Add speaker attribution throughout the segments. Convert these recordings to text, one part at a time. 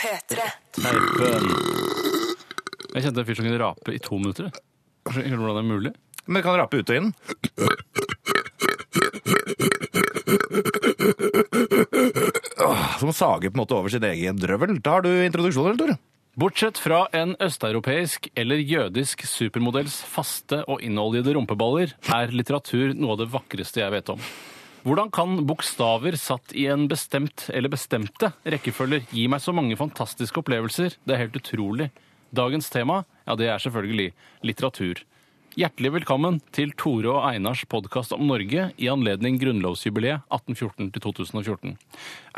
Speaker 1: P3.
Speaker 2: Jeg kjente en fyr som kunne rape i to minutter. jeg. Jeg skjønner ikke hvordan det er mulig.
Speaker 3: Men kan rape ut og inn. Åh, Som sager på en måte over sin egen drøvel. Da har du introduksjonen, eller, Tor?
Speaker 2: Bortsett fra en østeuropeisk eller jødisk supermodells faste og innoljede rumpeballer, er litteratur noe av det vakreste jeg vet om. Hvordan kan bokstaver satt i en bestemt eller bestemte rekkefølger gi meg så mange fantastiske opplevelser? Det er helt utrolig. Dagens tema, ja det er selvfølgelig litteratur. Hjertelig velkommen til Tore og Einars podkast om Norge i anledning grunnlovsjubileet 1814-2014.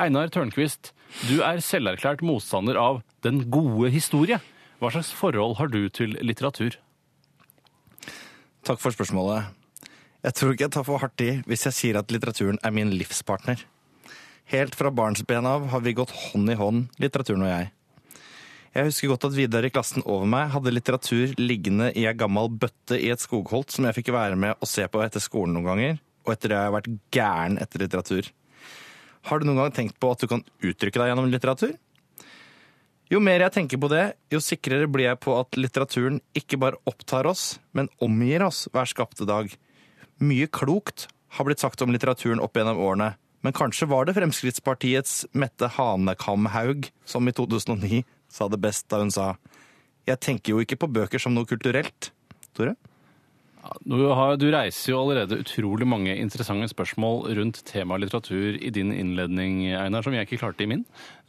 Speaker 2: Einar Tørnquist, du er selverklært motstander av den gode historie. Hva slags forhold har du til litteratur?
Speaker 3: Takk for spørsmålet. Jeg tror ikke jeg tar for hardt i hvis jeg sier at litteraturen er min livspartner. Helt fra barnsben av har vi gått hånd i hånd, litteraturen og jeg. Jeg husker godt at Vidar i klassen over meg hadde litteratur liggende i ei gammel bøtte i et skogholt som jeg fikk være med og se på etter skolen noen ganger, og etter det har jeg vært gæren etter litteratur. Har du noen gang tenkt på at du kan uttrykke deg gjennom litteratur? Jo mer jeg tenker på det, jo sikrere blir jeg på at litteraturen ikke bare opptar oss, men omgir oss hver skapte dag. Mye klokt har blitt sagt om litteraturen opp gjennom årene, men kanskje var det Fremskrittspartiets Mette Hanekamhaug som i 2009 sa det best da hun sa «Jeg tenker jo ikke på bøker som noe kulturelt». Tore?
Speaker 2: Du, har, du reiser jo allerede utrolig mange interessante spørsmål rundt temaet litteratur i din innledning, Einar, som jeg ikke klarte i min.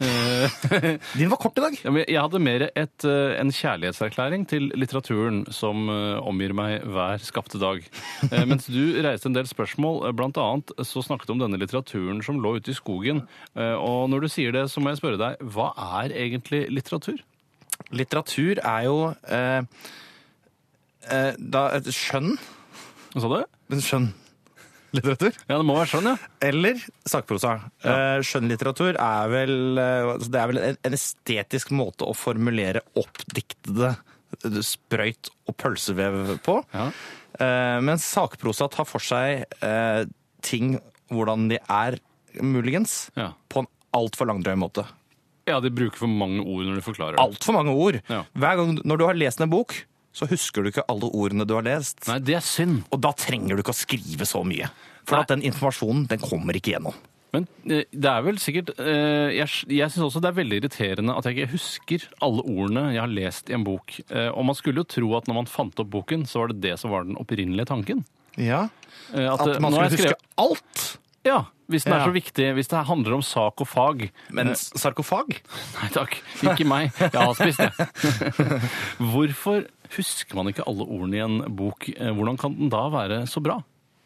Speaker 2: Eh,
Speaker 3: Din var kort i dag.
Speaker 2: Ja, men jeg hadde mer et, eh, en kjærlighetserklæring til litteraturen som eh, omgir meg hver skapte dag. Eh, Mens du reiste en del spørsmål, eh, blant annet så snakket du om denne litteraturen som lå ute i skogen. Eh, Og når du sier det, så må jeg spørre deg, hva er egentlig litteratur?
Speaker 3: Litteratur er jo eh, eh, da, et skjønn.
Speaker 2: Hva sa du?
Speaker 3: En Skjønn litteratur.
Speaker 2: Ja, det må være sånn, ja.
Speaker 3: Eller sakprosa. Eh, Skjønnlitteratur er vel, eh, altså det er vel en, en estetisk måte å formulere oppdiktede eh, sprøyt og pølsevev på.
Speaker 2: Ja.
Speaker 3: Eh, mens sakprosa tar for seg eh, ting hvordan de er, muligens,
Speaker 2: Ja.
Speaker 3: på en altfor langdrøy måte.
Speaker 2: ja, de bruker for mange ord når de forklarer det.
Speaker 3: Altfor mange ord.
Speaker 2: Ja.
Speaker 3: Hver gang, når du har lest en bok, så husker du ikke alle ordene du har lest.
Speaker 2: Nei, det er synd.
Speaker 3: Og da trenger du ikke å skrive så mye. For
Speaker 2: Nei.
Speaker 3: at den informasjonen den kommer ikke gjennom.
Speaker 2: Men eh, det er vel sikkert eh, Jeg, jeg syns også det er veldig irriterende at jeg ikke husker alle ordene jeg har lest i en bok. Eh, og man skulle jo tro at når man fant opp boken, så var det det som var den opprinnelige tanken.
Speaker 3: Ja,
Speaker 2: Eh, at,
Speaker 3: At
Speaker 2: eh,
Speaker 3: man
Speaker 2: nå har
Speaker 3: skulle
Speaker 2: jeg skrevet-
Speaker 3: huske alt.
Speaker 2: Ja, hvis den er
Speaker 3: Ja.
Speaker 2: så viktig. Hvis det handler om sak og fag.
Speaker 3: Men sarkofag?
Speaker 2: Nei takk, ikke meg. Jeg har spist, jeg. Hvorfor husker man ikke alle ordene i en bok? Eh, Hvordan kan den da være så bra?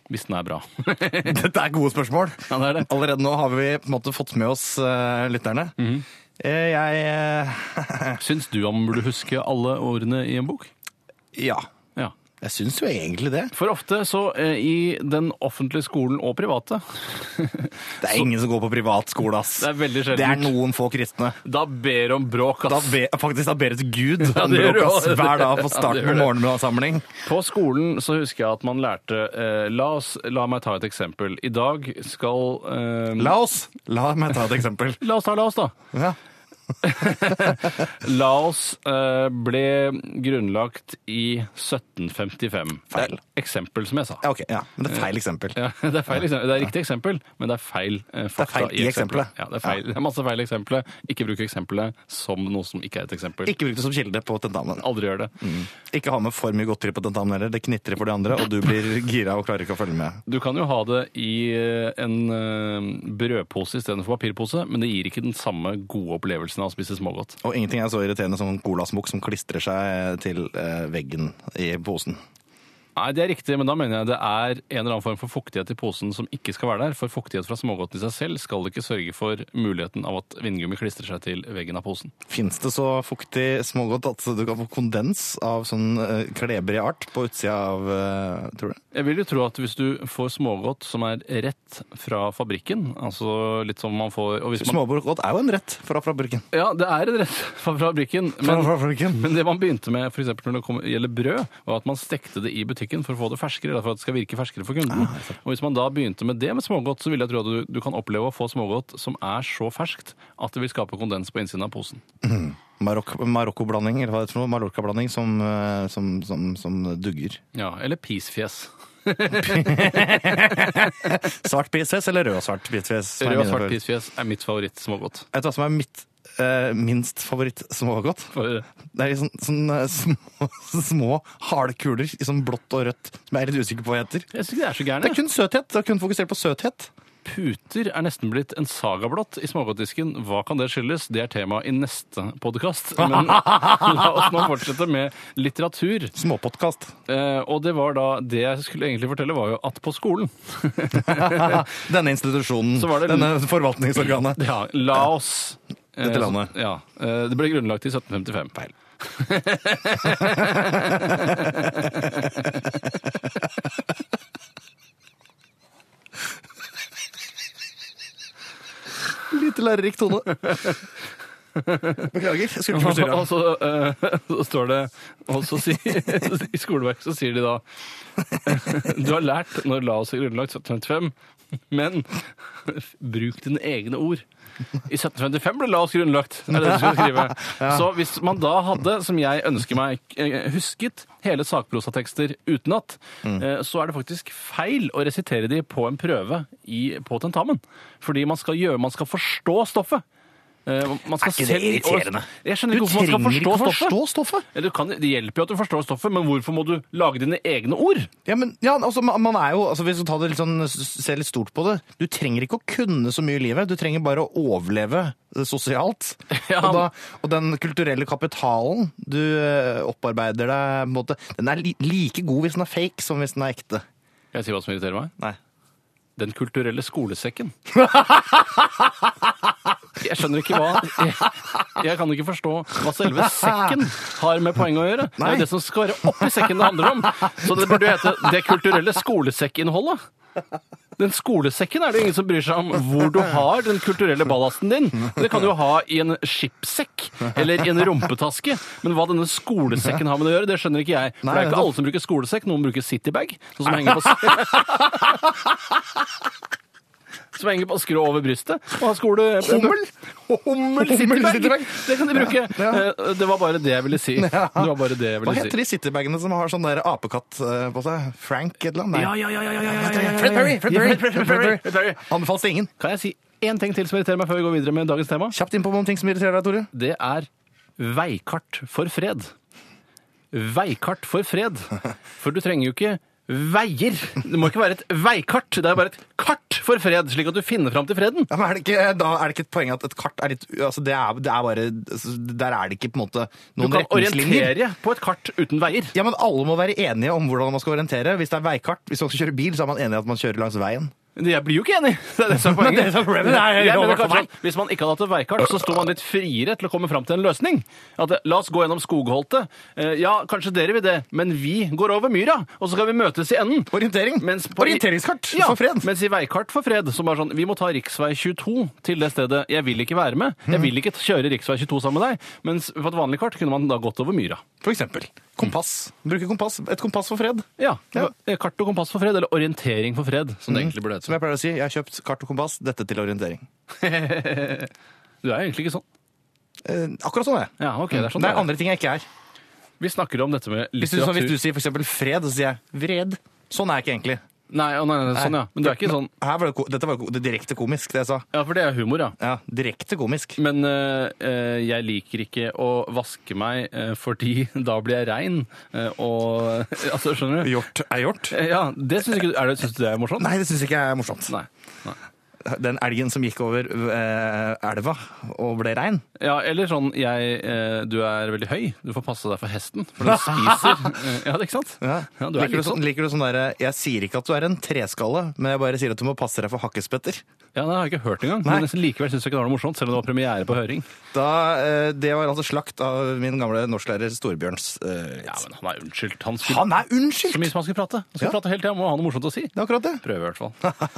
Speaker 2: Hvis den er bra.
Speaker 3: Dette er gode spørsmål.
Speaker 2: Ja, det er det.
Speaker 3: Allerede nå har vi på en måte fått med oss eh, lytterne.
Speaker 2: Mhm.
Speaker 3: Eh, jeg eh,
Speaker 2: Syns du han burde huske alle ordene i en bok?
Speaker 3: Ja.
Speaker 2: Ja.
Speaker 3: Jeg syns jo egentlig det.
Speaker 2: For ofte så eh, i den offentlige skolen og private,
Speaker 3: Det er ingen som går på privatskole, ass.
Speaker 2: Det er veldig sjeldent.
Speaker 3: Det er noen få kristne.
Speaker 2: da ber om bråk,
Speaker 3: Da
Speaker 2: ass.
Speaker 3: be, faktisk da ber et gud om
Speaker 2: det gjør
Speaker 3: bråk, ass,
Speaker 2: du også.
Speaker 3: hver dag
Speaker 2: Ja,
Speaker 3: på
Speaker 2: det
Speaker 3: starten
Speaker 2: gjør
Speaker 3: på
Speaker 2: det.
Speaker 3: morgenmiddagssamling.
Speaker 2: På skolen så husker jeg at man lærte eh, la, oss, la meg ta et eksempel. I dag skal eh,
Speaker 3: La oss La meg ta et eksempel.
Speaker 2: la oss ta la oss, da.
Speaker 3: Ja.
Speaker 2: La oss eh, ble grunnlagt i 1755.
Speaker 3: Feil.
Speaker 2: Det er et Eksempel, som jeg sa.
Speaker 3: Ja, ok, ja. Men det er feil eksempel.
Speaker 2: Ja, det, er feil, eksempel. det er riktig eksempel, men det er feil eh, fakta
Speaker 3: feil i eksempelet.
Speaker 2: Ja, det, er feil. det er masse feil i eksempelet. Ikke bruk eksempelet som noe som ikke er et eksempel.
Speaker 3: Ikke bruk det som kilde på tentamen.
Speaker 2: Aldri gjør det.
Speaker 3: Ikke ha med for mye godteri på tentamen heller. Det knitrer for de andre, og du blir gira og klarer ikke å følge med.
Speaker 2: Du kan jo ha det i eh, en eh, brødpose istedenfor papirpose, men det gir ikke den samme gode opplevelsen av å spise smågodt.
Speaker 3: Og ingenting er så irriterende som en colasmokk som klistrer seg til eh, veggen i posen.
Speaker 2: Nei, det er riktig, men da mener jeg det er en eller annen form for fuktighet i posen som ikke skal være der, for fuktighet fra smågodten i seg selv skal ikke sørge for muligheten av at vindgummi klistrer seg til veggen av posen.
Speaker 3: Fins det så fuktig smågodt at du kan få kondens av sånn eh, klebrig art på utsida av eh, Tror du?
Speaker 2: Jeg vil jo tro at hvis du får smågodt som er rett fra fabrikken, altså litt som man får og hvis man,
Speaker 3: Smågodt er jo en rett fra fabrikken.
Speaker 2: Ja, det er en rett fra fabrikken,
Speaker 3: Fra
Speaker 2: men
Speaker 3: fabrikken.
Speaker 2: Men det man begynte med for eksempel når det kom, gjelder brød, var at man stekte det i butikken for å få det ferskere, eller for at det skal virke ferskere for kunden.
Speaker 3: Ah,
Speaker 2: og hvis man da begynte med det med smågodt, så vil jeg tro at du, du kan oppleve å få smågodt som er så ferskt at det vil skape kondens på innsiden av posen.
Speaker 3: Marokk, Marokko-blanding, eller hva det er for noe, Mallorca-blanding som, eh, som, som, som dugger.
Speaker 2: Ja, eller pisfjes.
Speaker 3: Svart pisfjes eller rød og svart pisfjes? som
Speaker 2: Rød
Speaker 3: er
Speaker 2: og
Speaker 3: mine
Speaker 2: svart
Speaker 3: favoritter.
Speaker 2: pisfjes er mitt favoritt-smågodt.
Speaker 3: Vet du hva som er mitt eh, minst favoritt smågodt?
Speaker 2: For-
Speaker 3: Det er litt sånn, sånn eh, små, små harde kuler i sånn blått og rødt, som jeg er litt usikker på hva heter.
Speaker 2: Jeg syns ikke det er så
Speaker 3: Det er
Speaker 2: gærent.
Speaker 3: kun søthet. Det er kun fokusert på søthet.
Speaker 2: Puter er nesten blitt en sagablått i smågodtdisken. Hva kan det skyldes? Det er tema i neste podkast. Men la oss nå fortsette med litteratur.
Speaker 3: Småpodkast.
Speaker 2: Eh, og det var da det jeg skulle egentlig fortelle, var jo at på skolen
Speaker 3: Denne institusjonen,
Speaker 2: Så var det-
Speaker 3: denne forvaltningsorganet.
Speaker 2: ja, Laos eh,
Speaker 3: Dette landet.
Speaker 2: så- Ja, eh, det ble grunnlagt i 1755.
Speaker 3: Feil. Lite lærerik tone. Beklager, jeg skulle ikke forstyrre.
Speaker 2: Og så, eh, så står det Og så sier I skoleverket så sier de da Du har lært når Laos er grunnlagt 1755, men bruk dine egne ord. I 1755 ble Laos grunnlagt, er det du skal skrive. Så hvis man da hadde, som jeg ønsker meg, eh, husket hele sakprosatekster utenat,
Speaker 3: Mm.
Speaker 2: eh, så er det faktisk feil å resitere de på en prøve i, på tentamen. Fordi man skal gjøre Man skal forstå stoffet. Eh, Man skal
Speaker 3: Er ikke det
Speaker 2: selv-
Speaker 3: irriterende?
Speaker 2: Jeg skjønner ikke hvorfor man skal forstå stoffet.
Speaker 3: stoffet.
Speaker 2: Eller du kan, det hjelper jo at du forstår stoffet, men hvorfor må du lage dine egne ord?
Speaker 3: Ja, men ja, altså, man man er jo, altså, Hvis du tar det litt sånn, ser litt stort på det Du trenger ikke å kunne så mye i livet. Du trenger bare å overleve eh, sosialt.
Speaker 2: Ja.
Speaker 3: Og, da, og den kulturelle kapitalen du eh, opparbeider deg på en måte, Den er li like god hvis den er fake som hvis den er ekte.
Speaker 2: Kan jeg si hva som irriterer meg?
Speaker 3: Nei.
Speaker 2: Den kulturelle skolesekken. Jeg skjønner ikke hva jeg, jeg kan ikke forstå hva selve sekken har med poenget å gjøre. Det er
Speaker 3: Nei.
Speaker 2: jo det som skal være oppi sekken det handler om. Så det burde jo hete 'Det kulturelle skolesekkinnholdet'. Den skolesekken er det ingen som bryr seg om hvor du har den kulturelle ballasten din. Det kan du jo ha i en skipssekk eller i en rumpetaske. Men hva denne skolesekken har med det å gjøre, det skjønner ikke jeg. For det er ikke alle som bruker skolesekk. Noen bruker citybag, sånn som henger på som henger på skrå over brystet. Og har skole...
Speaker 3: Hummel?
Speaker 2: Hummel
Speaker 3: Citybag.
Speaker 2: Citybag! Det kan de bruke.
Speaker 3: Ja,
Speaker 2: Eh, Det var bare det jeg ville si. Det var bare det jeg ville
Speaker 3: Hva
Speaker 2: si.
Speaker 3: heter de citybagene som har sånn der apekatt eh, på seg? Frank et eller annet?
Speaker 2: Ja, ja, ja, ja, ja, ja, ja, ja, ja, ja.
Speaker 3: Fred Perry! Fred Perry!
Speaker 2: Ja, Fred Perry, Fred Perry.
Speaker 3: Anbefales til ingen.
Speaker 2: Kan jeg si én ting til som irriterer meg før vi går videre med dagens tema?
Speaker 3: Kjapt innpå noen ting som irriterer deg, Tore.
Speaker 2: Det er veikart for fred. Veikart for fred. For du trenger jo ikke veier. Det må ikke være et veikart. Det er bare et kart for fred, slik at du finner fram til freden.
Speaker 3: Ja, men er det, ikke, da er det ikke et poeng at et kart er litt altså det er, det er bare, altså Der er det ikke på en måte
Speaker 2: Du
Speaker 3: noen
Speaker 2: kan
Speaker 3: retningslinjer.
Speaker 2: orientere på et kart uten veier.
Speaker 3: Ja, men Alle må være enige om hvordan man skal orientere. Hvis det er veikart, hvis man skal kjøre bil, så er man enig i at man kjører langs veien.
Speaker 2: Jeg blir jo ikke enig. Det er det som er
Speaker 3: Men det
Speaker 2: poenget.
Speaker 3: er det som er problemet. Det er
Speaker 2: Jeg
Speaker 3: helt
Speaker 2: mener
Speaker 3: overfor
Speaker 2: kanskje at Hvis man ikke hadde hatt et veikart, så sto man litt friere til å komme fram til en løsning. At eh, La oss gå gjennom skogholtet. Eh, Ja, kanskje dere vil det, men vi går over myra, og så skal vi møtes i enden.
Speaker 3: Orientering!
Speaker 2: Mens på-
Speaker 3: Orienteringskart
Speaker 2: Ja,
Speaker 3: for fred!
Speaker 2: Mens i veikart for fred, som er sånn Vi må ta riksvei 22 til det stedet jeg vil ikke være med. Jeg vil ikke kjøre riksvei 22 sammen med deg. Mens på et vanlig kart kunne man da gått over myra.
Speaker 3: For eksempel. Kompass. Bruke kompass. Et kompass for fred.
Speaker 2: Ja.
Speaker 3: Ja. Mm.
Speaker 2: eh, Kart og kompass for fred, eller orientering for fred, som det egentlig burde hete.
Speaker 3: Som jeg pleier å si, jeg har kjøpt kart og kompass, dette til orientering.
Speaker 2: Du er egentlig ikke sånn.
Speaker 3: Eh, akkurat sånn er jeg.
Speaker 2: Ja, ok, det er sånn
Speaker 3: det
Speaker 2: det er.
Speaker 3: er andre ting jeg ikke er.
Speaker 2: Vi snakker om dette med
Speaker 3: Hvis du, så,
Speaker 2: litteratur.
Speaker 3: hvis du sier for eksempel fred, så sier jeg vred. Sånn er jeg ikke egentlig.
Speaker 2: Nei, å, nei, nei, sånn ja. Men du er ikke sånn
Speaker 3: Her var det, ko- dette var jo ko- det direkte komisk, det jeg sa.
Speaker 2: Ja, for det er humor, ja.
Speaker 3: Ja, direkte komisk.
Speaker 2: Men eh, eh, jeg liker ikke å vaske meg eh, fordi da blir jeg rein. eh, og Altså, skjønner du?
Speaker 3: Hjort er hjort.
Speaker 2: Eh, Ja, det syns ikke du er det, synes du det er morsomt?
Speaker 3: Nei, det syns jeg ikke er morsomt.
Speaker 2: Nei. Nei.
Speaker 3: Den elgen som gikk over eh, elva og ble rein.
Speaker 2: Ja, eller sånn jeg eh, Du er veldig høy. Du får passe deg for hesten, for den spiser. Eh, ja, ikke sant? Ja, du er
Speaker 3: liker,
Speaker 2: litt
Speaker 3: du sånn,
Speaker 2: sånn.
Speaker 3: liker du sånn derre Jeg sier ikke at du er en treskalle, men jeg bare sier at du må passe deg for hakkespetter.
Speaker 2: Ja, Det har jeg ikke hørt engang.
Speaker 3: Nei.
Speaker 2: Men nesten likevel syns jeg ikke det var noe morsomt, selv om det var premiere på høring.
Speaker 3: Da, eh, det var altså slakt av min gamle norsklærer Storbjørns eh,
Speaker 2: Ja, men han er unnskyldt. Han skulle
Speaker 3: Han er
Speaker 2: så mye
Speaker 3: unnskyldt!
Speaker 2: som han skulle prate. Han skulle
Speaker 3: Ja.
Speaker 2: prate hele tida, må ha noe morsomt å si.
Speaker 3: Det er akkurat det.
Speaker 2: Prøve, i hvert fall.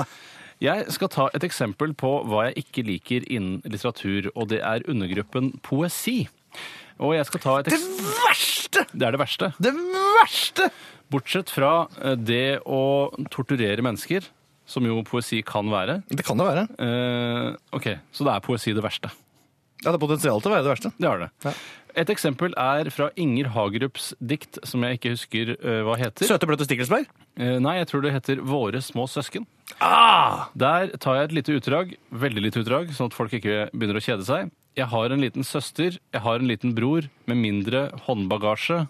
Speaker 2: Jeg skal ta et eksempel på hva jeg ikke liker innen litteratur, og det er undergruppen poesi. Og jeg skal ta et
Speaker 3: Det
Speaker 2: eks...
Speaker 3: verste!
Speaker 2: Det er det verste.
Speaker 3: Det verste!
Speaker 2: Bortsett fra eh, det å torturere mennesker, som jo poesi kan være.
Speaker 3: Det kan det være.
Speaker 2: Eh, ok, Så da er poesi det verste.
Speaker 3: Ja, det er potensial til å være det verste.
Speaker 2: Det er det.
Speaker 3: Ja.
Speaker 2: Et eksempel er fra Inger Hagerups dikt, som jeg ikke husker eh, hva heter.
Speaker 3: Søte, bløte stikkelsbær.
Speaker 2: Eh, nei, jeg tror det heter 'Våre små søsken'.
Speaker 3: Ah!
Speaker 2: Der tar jeg et lite utdrag, veldig lite utdrag, sånn at folk ikke begynner å kjede seg. Jeg har en liten søster, jeg har en liten bror, med mindre håndbagasje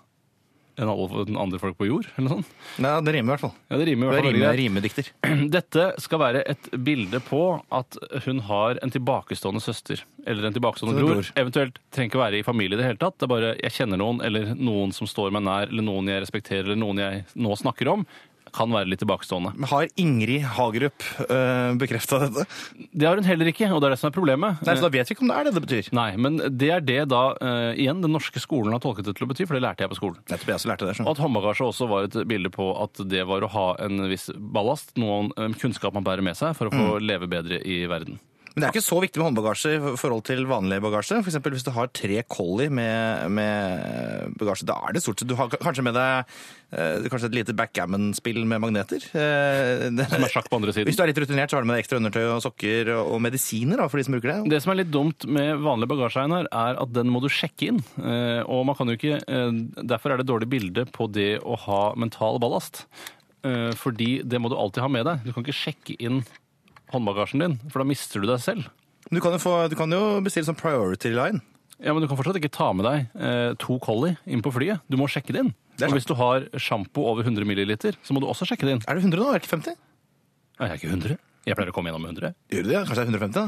Speaker 2: enn alle den andre folk på jord, eller noe sånt.
Speaker 3: Nei, det rimer i hvert fall.
Speaker 2: Ja, det rimer i
Speaker 3: Det
Speaker 2: hvert fall. veldig
Speaker 3: rimer,
Speaker 2: greit.
Speaker 3: rimedikter.
Speaker 2: Dette skal være et bilde på at hun har en tilbakestående søster, eller en tilbakestående
Speaker 3: Så det er
Speaker 2: bror.
Speaker 3: bror.
Speaker 2: Eventuelt trenger ikke være i familie i det hele tatt, det er bare jeg kjenner noen, eller noen som står meg nær, eller noen jeg respekterer, eller noen jeg nå snakker om, kan være litt tilbakestående.
Speaker 3: Har Ingrid Hagerup øh, bekrefta dette?
Speaker 2: Det har hun heller ikke, og det er det som er problemet.
Speaker 3: Nei, så da vet vi ikke om det er det det betyr.
Speaker 2: Nei, men det er det da eh, igjen den norske skolen har tolket det til å bety, for det lærte jeg på skolen.
Speaker 3: Nettopp jeg også lærte det.
Speaker 2: Og
Speaker 3: skjønner du.
Speaker 2: at håndbagasje også var et bilde på at det var å ha en viss ballast, noen eh, kunnskap man bærer med seg for å få
Speaker 3: Mm.
Speaker 2: leve bedre i verden.
Speaker 3: Men det er ikke så viktig med håndbagasje i forhold til vanlig bagasje. For eksempel hvis du har tre kolli med, med bagasje, da er det stort sett Du har kanskje med deg øh, kanskje et lite backgammon-spill med magneter. Eh, det-
Speaker 2: Som er sjakk på andre
Speaker 3: Hvis
Speaker 2: siden.
Speaker 3: du er litt rutinert, så har du med deg ekstra undertøy og sokker og og medisiner da, for de som bruker det.
Speaker 2: Det som er litt dumt med vanlig bagasje, Einar, er at den må du sjekke inn. Eh, og man kan jo ikke eh, Derfor er det dårlig bilde på det å ha mental ballast. Eh, fordi det må du alltid ha med deg. Du kan ikke sjekke inn håndbagasjen din, for da mister du deg selv.
Speaker 3: Du kan jo, få, du kan jo bestille sånn priority line.
Speaker 2: Ja, men Du kan fortsatt ikke ta med deg eh, to collie inn på flyet. Du må sjekke det inn.
Speaker 3: Det er
Speaker 2: og hvis du har sjampo over 100 ml, så må du også sjekke det inn.
Speaker 3: Er det 100 nå? Er det ikke 50?
Speaker 2: Nei, Jeg er ikke 100. Jeg pleier å komme gjennom 100.
Speaker 3: Gjør du det? Kanskje det er 150, da?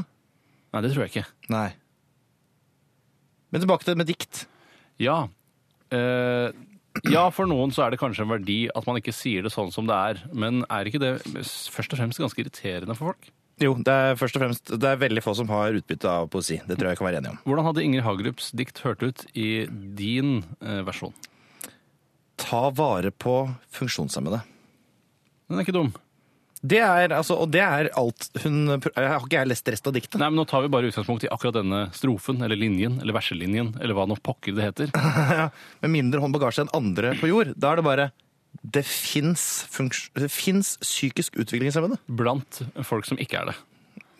Speaker 2: Nei, det tror jeg ikke.
Speaker 3: Nei. Men tilbake til det med dikt.
Speaker 2: Ja. Eh, ja, for noen så er det kanskje en verdi at man ikke sier det sånn som det er. Men er ikke det først og fremst ganske irriterende for folk?
Speaker 3: Jo, det er først og fremst det er veldig få som har utbytte av poesi. Det tror jeg jeg kan være enig om.
Speaker 2: Hvordan hadde Inger Hagerups dikt hørt ut i din eh, versjon?
Speaker 3: Ta vare på funksjonshemmede.
Speaker 2: Den er ikke dum.
Speaker 3: Det er, altså, og det er alt hun Jeg har ikke jeg lest resten av diktet.
Speaker 2: Nei, men Nå tar vi bare utgangspunkt i akkurat denne strofen eller linjen eller verselinjen eller hva nå pokker det heter.
Speaker 3: Med mindre håndbagasje enn andre på jord. Da er det bare Det fins funks- det fins psykisk utviklingshemmede.
Speaker 2: Blant folk som ikke er det.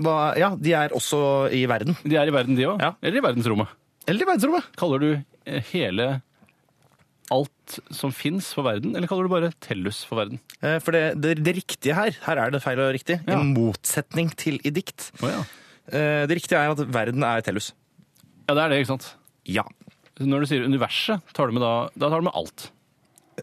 Speaker 3: Hva- Ja, de er også i verden.
Speaker 2: De er i verden, de òg?
Speaker 3: Ja.
Speaker 2: Eller i verdensrommet?
Speaker 3: Eller i verdensrommet.
Speaker 2: Kaller du eh, hele alt som fins for verden, eller kaller du bare Tellus for verden?
Speaker 3: Eh, For det, det, det riktige her, her er det feil og riktig,
Speaker 2: Ja.
Speaker 3: i motsetning til i dikt.
Speaker 2: Å ja.
Speaker 3: Eh, Det riktige er at verden er Tellus.
Speaker 2: ja, det er det, ikke sant?
Speaker 3: Ja.
Speaker 2: Når du sier universet, tar du med da, da tar du med alt.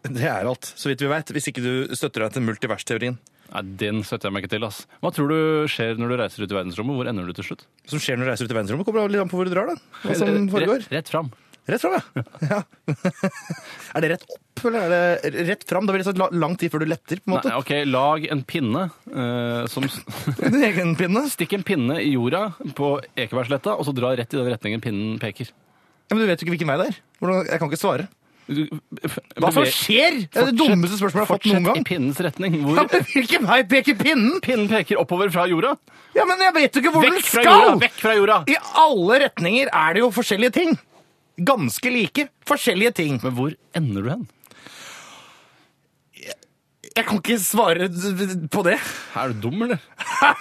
Speaker 3: Det er alt, så vidt vi veit. Hvis ikke du støtter deg til multiversteorien.
Speaker 2: Nei, Den støtter jeg meg ikke til. ass. Hva tror du skjer når du reiser ut i verdensrommet? Hvor ender du til slutt?
Speaker 3: Som skjer når du reiser ut i verdensrommet, kommer litt an på hvor du drar. da. Hva som foregår.
Speaker 2: Rett, rett fram.
Speaker 3: Rett fram, ja. ja. er det rett opp, eller er det rett fram? Da blir det så la- lang tid før du letter, på en
Speaker 2: Nei,
Speaker 3: måte.
Speaker 2: OK, lag en pinne eh, som
Speaker 3: Din egen pinne.
Speaker 2: Stikk en pinne i jorda på Ekebergsletta, og så dra rett i den retningen pinnen peker.
Speaker 3: Ja, men du vet jo ikke hvilken vei det er. Hvordan, jeg kan ikke svare.
Speaker 2: Du-
Speaker 3: Hva som
Speaker 2: beveg-
Speaker 3: skjer? Det er det dummeste spørsmålet jeg har fått noen
Speaker 2: Fortsett i
Speaker 3: gang.
Speaker 2: pinnens retning.
Speaker 3: Ja,
Speaker 2: Hvor
Speaker 3: men Hvilken vei peker pinnen?
Speaker 2: pinnen peker oppover fra jorda.
Speaker 3: Ja, men jeg vet jo ikke hvor den
Speaker 2: Vekk fra
Speaker 3: skal!
Speaker 2: jorda! Vekk fra jorda!
Speaker 3: I alle retninger er det jo forskjellige ting. Ganske like. Forskjellige ting.
Speaker 2: Men hvor ender du hen?
Speaker 3: Jeg kan ikke svare på det.
Speaker 2: Er du dum, eller?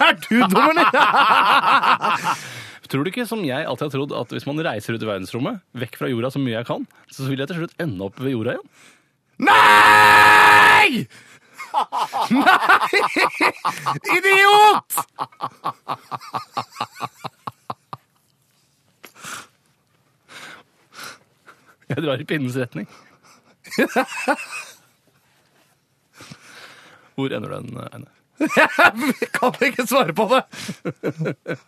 Speaker 3: Er du dum, eller?
Speaker 2: Tror du ikke, som jeg alltid har trodd, at hvis man reiser ut i verdensrommet, vekk fra jorda så mye jeg kan, så vil jeg til slutt ende opp ved jorda igjen?
Speaker 3: Nei! Nei! Idiot!
Speaker 2: Jeg drar i pinnens retning. Hvor ender den, Einar?
Speaker 3: Jeg kan ikke svare på det.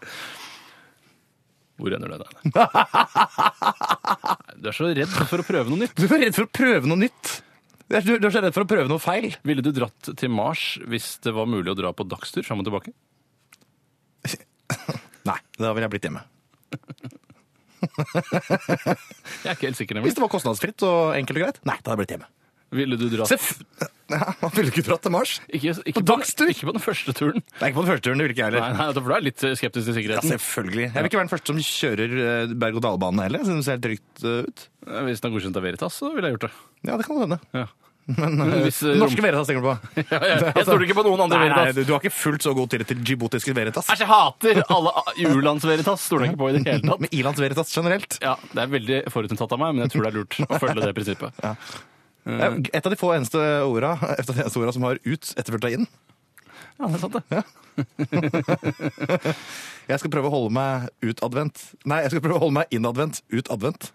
Speaker 2: Hvor ender den, Einar? Nei, Du er så redd for å prøve noe nytt.
Speaker 3: Du er redd for å prøve noe nytt. Du er, du er så redd for å prøve noe feil.
Speaker 2: Ville du dratt til Mars hvis det var mulig å dra på dagstur fram og tilbake?
Speaker 3: Nei, da ville jeg blitt hjemme.
Speaker 2: Jeg er ikke helt sikker,
Speaker 3: Hvis
Speaker 2: nemlig.
Speaker 3: det var kostnadsfritt og enkelt og greit. Nei, da hadde jeg blitt hjemme.
Speaker 2: Ville du dratt
Speaker 3: Seff. Ja, man ville ikke dratt til Mars.
Speaker 2: Ikke, ikke,
Speaker 3: På
Speaker 2: på,
Speaker 3: dagstur?
Speaker 2: ikke på den første turen.
Speaker 3: Det er ikke på den første turen, det vil ikke jeg
Speaker 2: Nei,
Speaker 3: heller.
Speaker 2: nei, for du er litt eh, skeptisk til
Speaker 3: Ja,
Speaker 2: sikkerheten.
Speaker 3: selvfølgelig. Jeg vil ikke være den første som kjører eh, berg-og-dal-bane heller. Jeg synes det ser helt trygt eh, ut.
Speaker 2: Hvis den er godkjent av Veritas, så ville jeg gjort det.
Speaker 3: Ja, det kan hende.
Speaker 2: Ja.
Speaker 3: Men eh,
Speaker 2: Hvis, eh,
Speaker 3: norske Veritas tenker du på?
Speaker 2: Ja, ja, jeg stoler ikke på noen andre
Speaker 3: Nei, nei,
Speaker 2: Veritas.
Speaker 3: du, du har ikke fullt så god tillit til djibotiske Veritas.
Speaker 2: Æsj, jeg hater alle u-lands-Veritas. Stoler jeg ikke på i det hele tatt.
Speaker 3: Men Irlands Veritas generelt.
Speaker 2: Ja, Det er veldig forutinntatt av meg, men jeg tror det er lurt å følge det prinsippet.
Speaker 3: Eh, Et av de få eneste orda, et av de eneste orda som har ut etterfulgt av inn.
Speaker 2: Ja, det er sant det.
Speaker 3: Jeg skal prøve å holde meg utadvendt. Nei, jeg skal prøve å holde meg innadvendt. Utadvendt.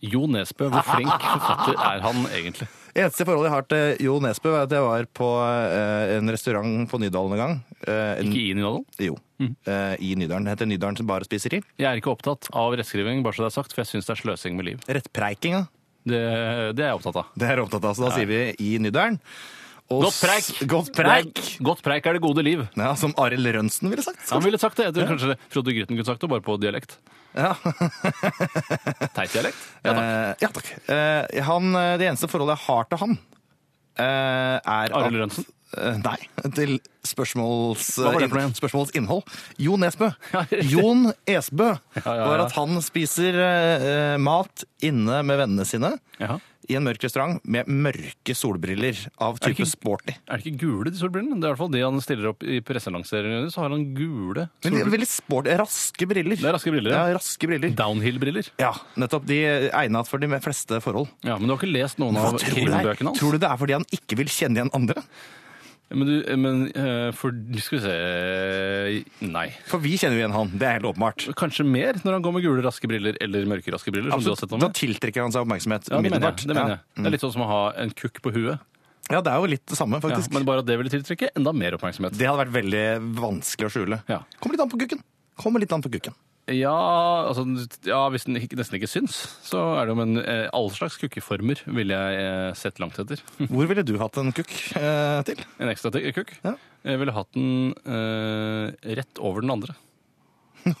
Speaker 2: Jo Nesbø, hvor flink forfatter er han egentlig?
Speaker 3: Eneste forhold jeg har til Jo Nesbø, er at jeg var på eh, en restaurant på Nydalen en gang. Eh, en,
Speaker 2: Ikke Mm. Ian Inodden.
Speaker 3: jo. Eh, I Nydalen. Det heter Nydalen Bar og Spiseri.
Speaker 2: Jeg er ikke opptatt av rettskriving, bare så det er sagt, for jeg syns det er sløsing med liv.
Speaker 3: Rettpreiking, ja.
Speaker 2: Det, det er jeg opptatt av.
Speaker 3: Det er jeg opptatt av, så da sier vi i Nydalen. Og
Speaker 2: Godt preik!
Speaker 3: s- Godt preik!
Speaker 2: Godt preik er det gode liv.
Speaker 3: Ja, som Arild Rønsen ville sagt.
Speaker 2: Han ville sagt det. Jeg tror kanskje Frode Grytten kunne sagt det, bare på dialekt.
Speaker 3: Ja.
Speaker 2: Teit dialekt. Ja, takk.
Speaker 3: Eh, ja, takk. Eh, han, eh, det eneste forholdet jeg har til han, eh, er
Speaker 2: Arild
Speaker 3: at-
Speaker 2: Rønsen?
Speaker 3: Eh, nei, til spørsmåls,
Speaker 2: Hva var det for noe igjen?
Speaker 3: spørsmålets innhold. Jo Nesbø.
Speaker 2: Ja, riktig.
Speaker 3: Jon Esbø
Speaker 2: ja, ja.
Speaker 3: var at han spiser eh, eh, mat inne med vennene sine
Speaker 2: Jaha.
Speaker 3: i en mørk restaurant med mørke solbriller
Speaker 2: Er
Speaker 3: av
Speaker 2: det
Speaker 3: type
Speaker 2: ikke-
Speaker 3: sporty.
Speaker 2: Er det ikke gule de solbrillene? Det er i hvert fall de han stiller opp i presselanseringene. Så har han gule
Speaker 3: Men de er
Speaker 2: solbriller.
Speaker 3: veldig sporty, raske briller.
Speaker 2: Det er raske briller.
Speaker 3: Ja,
Speaker 2: Ja.
Speaker 3: raske briller.
Speaker 2: Downhill-briller.
Speaker 3: Ja, nettopp. De er egnet for de fleste forhold.
Speaker 2: Ja, Men du har ikke lest noen av
Speaker 3: Hva tror du, det er?
Speaker 2: krimbøkene hans?
Speaker 3: tror du det er fordi han ikke vil kjenne igjen andre?
Speaker 2: Men, du, men eh, for Skal vi se Nei.
Speaker 3: For vi kjenner jo igjen han, det er helt åpenbart.
Speaker 2: Kanskje mer når han går med gule raske briller eller mørke raske briller. som du har
Speaker 3: Absolutt.
Speaker 2: sett noe
Speaker 3: Da
Speaker 2: med.
Speaker 3: tiltrekker han seg oppmerksomhet
Speaker 2: Ja, det mener jeg.
Speaker 3: umiddelbart.
Speaker 2: Det, mener jeg. det er litt sånn som å ha en kukk på huet.
Speaker 3: Ja. ja, det er jo litt det samme,
Speaker 2: Ja,
Speaker 3: faktisk.
Speaker 2: men bare at det ville tiltrekke enda mer oppmerksomhet.
Speaker 3: Det hadde vært veldig vanskelig å skjule.
Speaker 2: Ja.
Speaker 3: Kommer litt an på kukken. Kommer litt an på kukken.
Speaker 2: Ja, altså, ja hvis den ikke, nesten ikke syns, så er det jo Men eh, alle slags kukkeformer ville jeg eh, sett langt etter.
Speaker 3: Hvor ville du hatt en kukk eh, til?
Speaker 2: En ekstra te- kukk.
Speaker 3: Ja.
Speaker 2: Jeg ville hatt den eh, rett over den andre.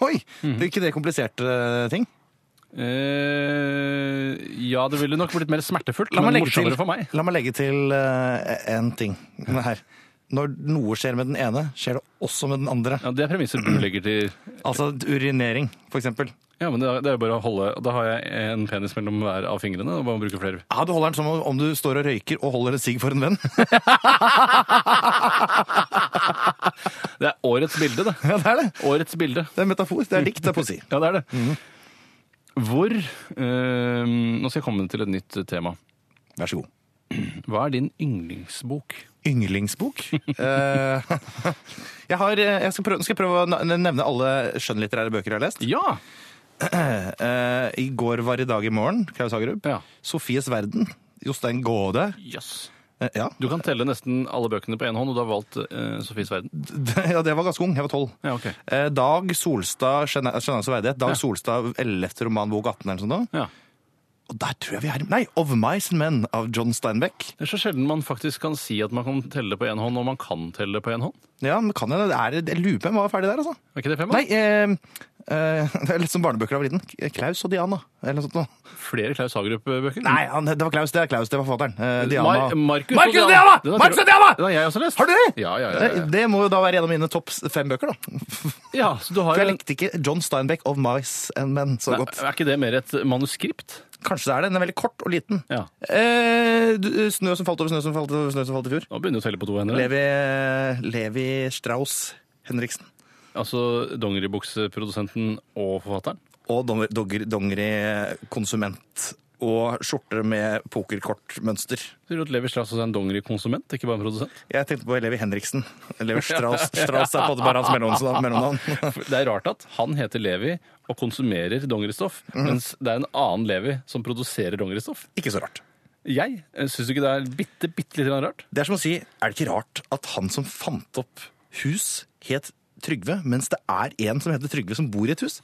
Speaker 3: Oi!
Speaker 2: Mhm.
Speaker 3: Det er ikke det kompliserte eh, ting?
Speaker 2: Eh, ja, det ville nok blitt mer smertefullt,
Speaker 3: La meg
Speaker 2: men
Speaker 3: legge til,
Speaker 2: morsommere for meg.
Speaker 3: la meg legge til eh, en ting her. Når noe skjer med den ene, skjer det også med den andre.
Speaker 2: Ja, Det er premisser du legger til
Speaker 3: Altså urinering, for eksempel.
Speaker 2: Ja, men det er det er jo bare å holde Da har jeg en penis mellom hver av fingrene og bare bruker flere.
Speaker 3: Ja, du holder den som om du står og røyker og holder en sigg for en venn.
Speaker 2: Det er årets bilde, det.
Speaker 3: ja, det er det.
Speaker 2: Årets bilde.
Speaker 3: Det er en metafor. Det er dikt, det er poesi.
Speaker 2: Ja, det er det.
Speaker 3: Mhm.
Speaker 2: Hvor eh, Nå skal jeg komme til et nytt tema.
Speaker 3: Vær så god.
Speaker 2: Hva er din yndlingsbok?
Speaker 3: Yndlingsbok? Eh, jeg har, eh, jeg skal prøve, nå skal jeg prøve å na- nevne alle skjønnlitterære bøker jeg har lest.
Speaker 2: Ja!
Speaker 3: Eh, I går var i dag i morgen, Klaus Hagerup.
Speaker 2: Ja.
Speaker 3: Sofies verden. Jostein Gaade.
Speaker 2: Jøss.
Speaker 3: Eh, ja.
Speaker 2: Du kan telle nesten alle bøkene på én hånd, og du har valgt eh, Sofies verden.
Speaker 3: ja, det var ganske ung. Jeg var tolv.
Speaker 2: Ja, ok.
Speaker 3: Eh, Dag Solstad, Skjønne- Skjønnhet og verdighet. Dag
Speaker 2: Ja.
Speaker 3: Solstad, 11. roman, bok 18 eller noe sånt. da.
Speaker 2: Ja.
Speaker 3: Og der tror jeg vi er Nei, Of Mice and Men av John Steinbeck.
Speaker 2: Det er så sjelden man faktisk kan si at man kan telle på én hånd, og man kan telle på én hånd.
Speaker 3: Ja, men kan jeg, det er, jeg lurer på om jeg var ferdig der, altså.
Speaker 2: Er ikke det fem? da?
Speaker 3: Nei, eh, eh, det er litt som barnebøker av liten. Klaus og Diana, eller noe sånt. noe.
Speaker 2: Flere Klaus Hagerup-bøker?
Speaker 3: Nei, han, det var Klaus, det er Klaus, det var forfatteren. Eh, Diana.
Speaker 2: Mar Markus
Speaker 3: Markus og Diana!
Speaker 2: Den har-
Speaker 3: Markus og Diana!
Speaker 2: Den har jeg også lest.
Speaker 3: Har du det?
Speaker 2: Ja, ja, ja.
Speaker 3: Eh,
Speaker 2: ja.
Speaker 3: Det må jo da være en av mine topp s- fem bøker, da.
Speaker 2: ja så du har
Speaker 3: For
Speaker 2: jo
Speaker 3: jeg
Speaker 2: en...
Speaker 3: likte ikke John Steinbeck of Mice and Men så
Speaker 2: Nei,
Speaker 3: godt.
Speaker 2: Er ikke det mer et manuskript?
Speaker 3: Kanskje det er det. Den er veldig kort og liten.
Speaker 2: Ja.
Speaker 3: Eh, du- snø som falt over snø som falt over snø som falt i fjor.
Speaker 2: Nå begynner du å telle på to hender.
Speaker 3: Levi, Levi Strauss Henriksen.
Speaker 2: Altså Dongeribukseprodusenten og forfatteren.
Speaker 3: Og donger- dogger- dongeri-konsument. Og skjorter med pokerkortmønster.
Speaker 2: Sier du at Levi Strauss også er en dongerikonsument, ikke bare en produsent?
Speaker 3: Jeg tenkte på Levi Henriksen. Levi Strauss, Strauss er på en måte bare hans mellomnavn- mellomnavn.
Speaker 2: For Det er rart at han heter Levi og konsumerer dongeristoff,
Speaker 3: Mhm.
Speaker 2: mens det er en annen Levi som produserer dongeristoff.
Speaker 3: Ikke så rart.
Speaker 2: Jeg syns du ikke det er bitte, bitte litt rart?
Speaker 3: Det er som å si, er det ikke rart at han som fant opp hus, het Trygve, mens det er en som heter Trygve som bor i et hus?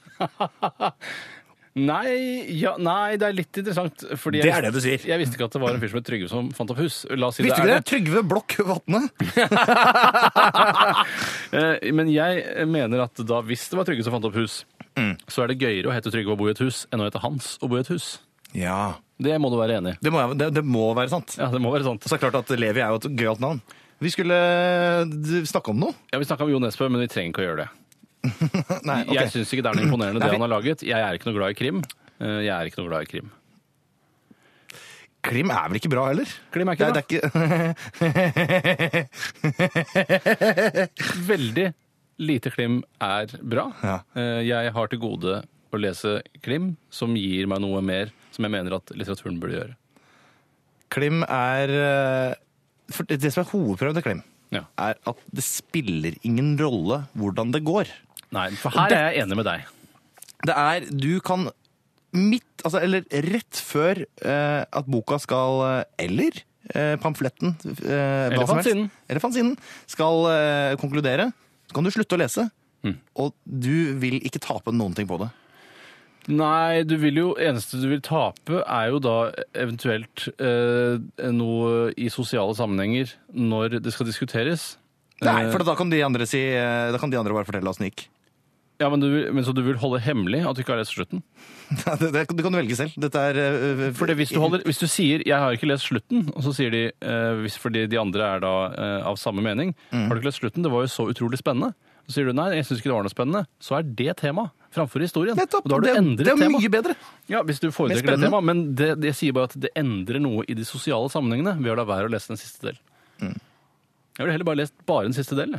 Speaker 2: Nei, ja, nei, det er litt interessant. Fordi
Speaker 3: Det er det du sier.
Speaker 2: Jeg visste ikke at det var en fyr som het Trygve som fant opp hus. La oss si
Speaker 3: Visste du
Speaker 2: er
Speaker 3: ikke det? Trygve Blokk Vatne.
Speaker 2: Eh, Men jeg mener at da hvis det var
Speaker 3: Mm.
Speaker 2: Trygve som fant opp hus, så er det gøyere å hete Trygve og bo i et hus enn å hete Hans og bo i et hus.
Speaker 3: Ja.
Speaker 2: Det må du være enig i.
Speaker 3: Det må, jeg- det, det må være sant.
Speaker 2: Ja, det må være sant.
Speaker 3: Så er det klart at Levi er jo et gøyalt navn. Vi skulle d- snakke om noe.
Speaker 2: Ja, Vi snakka om Jo Nesbø, men vi trenger ikke å gjøre det.
Speaker 3: Nei, ok.
Speaker 2: Jeg syns ikke det er noe imponerende
Speaker 3: Nei,
Speaker 2: det
Speaker 3: vi-
Speaker 2: han har laget. Jeg er ikke noe glad i krim. Eh, Jeg er ikke noe glad i krim.
Speaker 3: Krim er vel ikke bra heller?
Speaker 2: Klim er
Speaker 3: Nei,
Speaker 2: ikke
Speaker 3: det
Speaker 2: bra.
Speaker 3: er ikke
Speaker 2: Veldig lite klim er bra.
Speaker 3: Ja.
Speaker 2: Eh, Jeg har til gode å lese klim som gir meg noe mer som jeg mener at litteraturen burde gjøre.
Speaker 3: Klim er eh, for Det det som er hovedprøven til Klim,
Speaker 2: Ja.
Speaker 3: er at det spiller ingen rolle hvordan det går.
Speaker 2: Nei, for her er jeg enig med deg.
Speaker 3: Det er Du kan midt altså, Eller rett før eh, at boka skal eh, Eller eh, pamfletten eh, hva
Speaker 2: Eller
Speaker 3: som helst.
Speaker 2: fanzinen.
Speaker 3: Eller fanzinen skal eh, konkludere, så kan du slutte å lese. Og du vil ikke tape noen ting på det.
Speaker 2: Nei, du vil jo, eneste du vil tape er jo da eventuelt eh, noe i sosiale sammenhenger når det skal diskuteres.
Speaker 3: Nei,
Speaker 2: Eh,
Speaker 3: for da kan de andre, si, eh, da kan de andre bare fortelle åssen det gikk.
Speaker 2: Ja, men, du, vil- men Så du vil holde hemmelig at du ikke har lest slutten?
Speaker 3: det, det, det kan du velge selv. Dette er eh,
Speaker 2: Fordi hvis, du holder, hvis du sier 'jeg har ikke lest slutten', og så sier de eh, hvis, fordi de andre er da eh, av samme mening
Speaker 3: Mm.
Speaker 2: 'har du ikke lest slutten', det var jo så utrolig spennende. Så sier du 'nei, jeg syns ikke det var noe spennende', så er det tema framfor historien.
Speaker 3: Nettopp!
Speaker 2: og da har du
Speaker 3: det,
Speaker 2: endret
Speaker 3: det er
Speaker 2: tema.
Speaker 3: mye bedre.
Speaker 2: Ja, hvis du foretrekker
Speaker 3: Mer
Speaker 2: det
Speaker 3: spennende.
Speaker 2: temaet, men det, det sier bare at det endrer noe i de sosiale sammenhengene ved å la være å lese den siste del.
Speaker 3: Mm.
Speaker 2: Jeg ville heller bare lest bare den siste delen.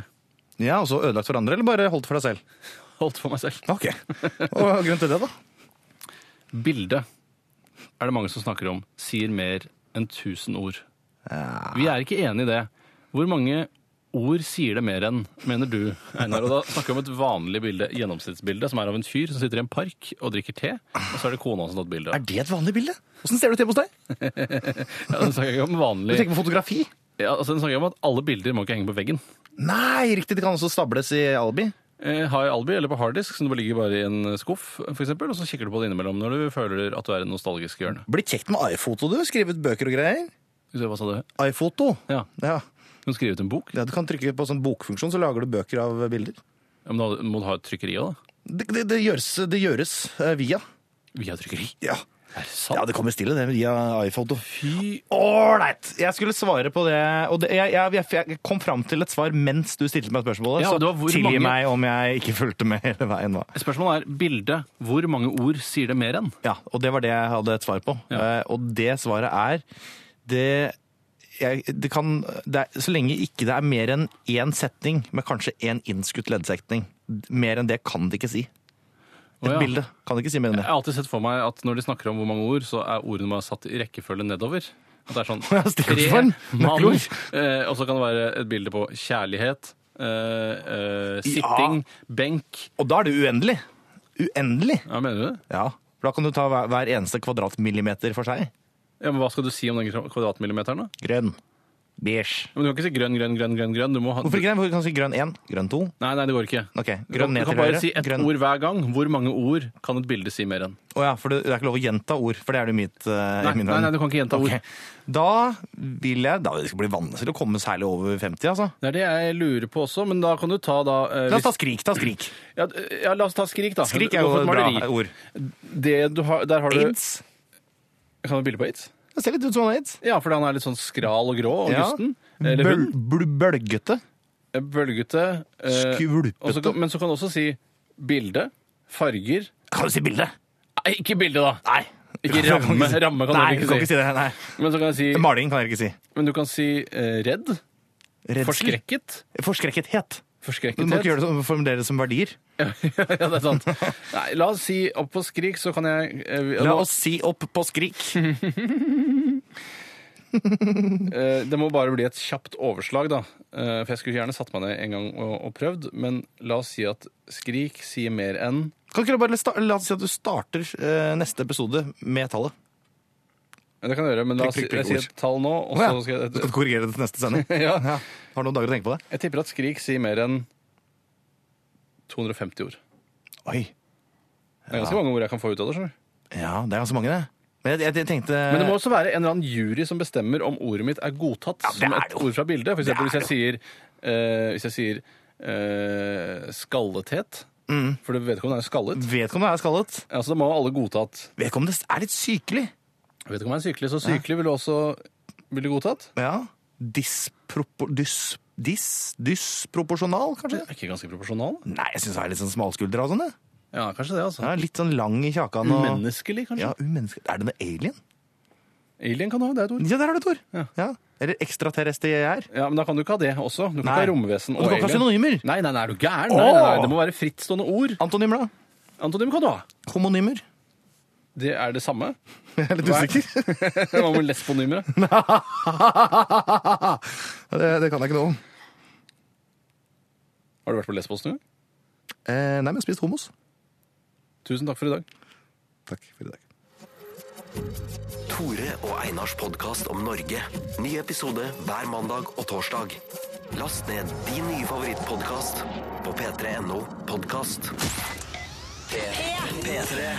Speaker 2: jeg.
Speaker 3: Ja, og så ødelagt for andre, eller bare holdt for deg selv?
Speaker 2: Holdt for meg selv.
Speaker 3: Ok. Og hva er grunnen til det, da?
Speaker 2: Bildet er det mange som snakker om sier mer enn 1000 ord. Vi er ikke enig i det. Hvor mange ord sier det mer enn, mener du, Einar? Og da snakker vi om et vanlig bilde, gjennomsnittsbilde, som er av en fyr som sitter i en park og drikker te, og så er det kona som har tatt bilde.
Speaker 3: Er det et vanlig bilde? Åssen ser det ut hjemme hos deg?
Speaker 2: Ja, den snakker jeg ikke om
Speaker 3: Du
Speaker 2: vanlig.
Speaker 3: tenker på fotografi?
Speaker 2: Ja, altså, den snakker jeg om at alle bilder må ikke henge på veggen.
Speaker 3: Nei, riktig, det kan også stables i alibi.
Speaker 2: Eh, Har i Albi eller på harddisk, som du ligger bare i en skuff, for eksempel, og så kikker du på det innimellom når du føler at du er i det nostalgiske hjørnet.
Speaker 3: Blir kjekt med iFoto, du. Skrive ut bøker og greier.
Speaker 2: Skal vi se, Hva sa du?
Speaker 3: iFoto.
Speaker 2: Ja,
Speaker 3: Ja.
Speaker 2: Du kan skrive ut en bok. Ja,
Speaker 3: ja, Du kan trykke på sånn bokfunksjon, så lager du bøker av eh, bilder.
Speaker 2: men da må du ha et trykkeri òg, da.
Speaker 3: Det, det, det gjøres, det gjøres eh, via.
Speaker 2: Vi har trykkeri.
Speaker 3: Ja.
Speaker 2: Er det
Speaker 3: ja,
Speaker 2: sant?
Speaker 3: det kommer stille, det, via iFoto.
Speaker 2: Fy
Speaker 3: Ålreit! Jeg skulle svare på det, og det, jeg, jeg, jeg kom fram til et svar mens du stilte meg spørsmålet.
Speaker 2: Ja,
Speaker 3: så
Speaker 2: det var hvor
Speaker 3: tilgi
Speaker 2: mange-
Speaker 3: meg om jeg ikke fulgte med hele veien. Da.
Speaker 2: Spørsmålet er bilde. Hvor mange ord sier det mer enn?
Speaker 3: Ja, og det var det jeg hadde et svar på.
Speaker 2: Ja.
Speaker 3: Eh, og det svaret er det, jeg, det kan det er, Så lenge ikke det er mer enn én setning med kanskje én innskutt leddsetning, mer enn det kan det ikke si. Et
Speaker 2: Å, ja.
Speaker 3: bilde kan det ikke si mer enn
Speaker 2: Jeg
Speaker 3: det.
Speaker 2: har alltid sett for meg at når de snakker om hvor mange ord, så er ordene bare satt i rekkefølge nedover. At det er sånn
Speaker 3: Ja, Stefan,
Speaker 2: mann,
Speaker 3: nøkkelord.
Speaker 2: eh, og så kan det være et bilde på kjærlighet, eh, eh, sitting, benk.
Speaker 3: Og da er det uendelig. Uendelig!
Speaker 2: Ja, mener du det?
Speaker 3: Ja. For da kan du ta hver, hver eneste kvadratmillimeter for seg.
Speaker 2: Ja, men Hva skal du si om den kvadratmillimeteren? da?
Speaker 3: Grønn. Beige.
Speaker 2: Men Du kan ikke si grønn, grønn, grønn. grønn, grønn. Du må ha...
Speaker 3: Hvorfor ikke det? Hvorfor kan du si grønn 1, grønn 2?
Speaker 2: Nei, nei, det går ikke.
Speaker 3: Ok,
Speaker 2: Du kan-
Speaker 3: grønn ned
Speaker 2: du kan
Speaker 3: til
Speaker 2: bare
Speaker 3: høyre.
Speaker 2: si ett
Speaker 3: grønn...
Speaker 2: ord hver gang. Hvor mange ord kan et bilde si mer enn?
Speaker 3: Å ja, for det det er ikke lov å gjenta ord, for det er det mitt uh,
Speaker 2: Nei, nei, nei, du kan ikke gjenta ord.
Speaker 3: Da vil jeg Da det skal bli vanskelig å komme særlig over 50, altså.
Speaker 2: Det er det jeg lurer på også, men da kan du ta da eh,
Speaker 3: La oss ta skrik, ta skrik.
Speaker 2: hvis- ja, ja, la oss ta skrik, da.
Speaker 3: Skrik
Speaker 2: Gå
Speaker 3: er jo
Speaker 2: for et
Speaker 3: et bra
Speaker 2: maleri.
Speaker 3: ord.
Speaker 2: Det du har, der har du
Speaker 3: Aids.
Speaker 2: Kan du ha et bilde på aids?
Speaker 3: Det ser litt ut som han har aids.
Speaker 2: Ja, fordi han er litt sånn skral og grå og
Speaker 3: Ja.
Speaker 2: gusten. Eller
Speaker 3: Bøl,
Speaker 2: hun.
Speaker 3: bl- bølgete.
Speaker 2: Bølgete. eh,
Speaker 3: Skvulpete.
Speaker 2: og så kan- Men så kan du også si bilde, farger
Speaker 3: Kan du si bilde?
Speaker 2: Nei, ikke bilde, da!
Speaker 3: Nei.
Speaker 2: Ikke ramme. Ramme kan
Speaker 3: nei,
Speaker 2: du
Speaker 3: du kan
Speaker 2: ikke si.
Speaker 3: ikke si det. Nei.
Speaker 2: Men så kan jeg si
Speaker 3: Maling kan jeg ikke si.
Speaker 2: Men du kan si eh, redd,
Speaker 3: Redsel.
Speaker 2: forskrekket,
Speaker 3: Forskrekkethet. Du må ikke
Speaker 2: forskrekkethet.
Speaker 3: gjøre det som, formulere det som verdier.
Speaker 2: ja, det er sant. Nei, la oss si opp på skrik, så kan jeg eh,
Speaker 3: La
Speaker 2: nå-
Speaker 3: oss si opp på skrik.
Speaker 2: eh, Det må bare bli et kjapt overslag, da. Eh, for jeg skulle gjerne satt meg ned en gang og, og prøvd, men la oss si at skrik sier mer enn
Speaker 3: Kan ikke du bare sta- La oss si at du starter eh, neste episode med tallet.
Speaker 2: Ja, Det kan jeg gjøre, men la oss si
Speaker 3: Prikk, prikk, prikk,
Speaker 2: jeg sier et tall nå, og
Speaker 3: Å ja.
Speaker 2: så skal
Speaker 3: Du skal
Speaker 2: jeg
Speaker 3: korrigere det til neste sending.
Speaker 2: ja.
Speaker 3: Har noen dager å tenke på det.
Speaker 2: Jeg tipper at skrik sier mer enn 250 ord.
Speaker 3: Oi.
Speaker 2: Det er ganske mange ord jeg kan få ut av det. skjønner du.
Speaker 3: Ja, det er ganske mange, det. Men jeg, jeg, jeg tenkte
Speaker 2: Men det må også være en eller annen jury som bestemmer om ordet mitt er godtatt
Speaker 3: det
Speaker 2: som
Speaker 3: er
Speaker 2: et
Speaker 3: det jo.
Speaker 2: ord fra bildet. For eksempel hvis
Speaker 3: Det er
Speaker 2: jeg sier, eh, hvis jeg sier eh, skallethet,
Speaker 3: Mm.
Speaker 2: for det vedkommende er jo skallet.
Speaker 3: Vedkommende er skallet.
Speaker 2: Altså, da må alle godta at
Speaker 3: Vedkommende er litt sykelig.
Speaker 2: Jeg vet ikke om jeg er sykelig, så sykelig ville også ville godtatt.
Speaker 3: Ja. Dispropo... Dys... Dis? Dysproporsjonal, kanskje?
Speaker 2: Det er ikke ganske proporsjonal.
Speaker 3: Nei, jeg syns jeg er litt sånn smalskuldra og sånn, jeg.
Speaker 2: Ja, kanskje det, altså.
Speaker 3: Ja, litt sånn lang i kjakan og
Speaker 2: Umenneskelig, kanskje.
Speaker 3: Ja, umenneske. Er det noe alien?
Speaker 2: Alien kan du ha, det er et ord.
Speaker 3: Ja, der har du, Tor!
Speaker 2: Ja.
Speaker 3: Ja. Eller ekstraterrestrier.
Speaker 2: Ja, Men da kan du ikke ha det også. Du kan
Speaker 3: Nei.
Speaker 2: ikke ha romvesen
Speaker 3: Og du kan ikke ha synonymer.
Speaker 2: Nei, nei, nei, er du gæren? Nei, nei, nei, det må være frittstående ord.
Speaker 3: Antonymer, da?
Speaker 2: Antonym kan du ha.
Speaker 3: Homonymer?
Speaker 2: Det er det samme.
Speaker 3: Jeg er litt
Speaker 2: Nei.
Speaker 3: usikker.
Speaker 2: Hva med lesbonymer? da?
Speaker 3: det, det kan jeg ikke noe om.
Speaker 2: Har du vært på lesbos nå?
Speaker 3: Eh, nei, men jeg har spist homos.
Speaker 2: Tusen takk for i dag.
Speaker 3: Takk for i dag.
Speaker 1: Tore og Einars podkast om Norge. Ny episode hver mandag og torsdag. Last ned din nye favorittpodkast på p3.no podkast. P3.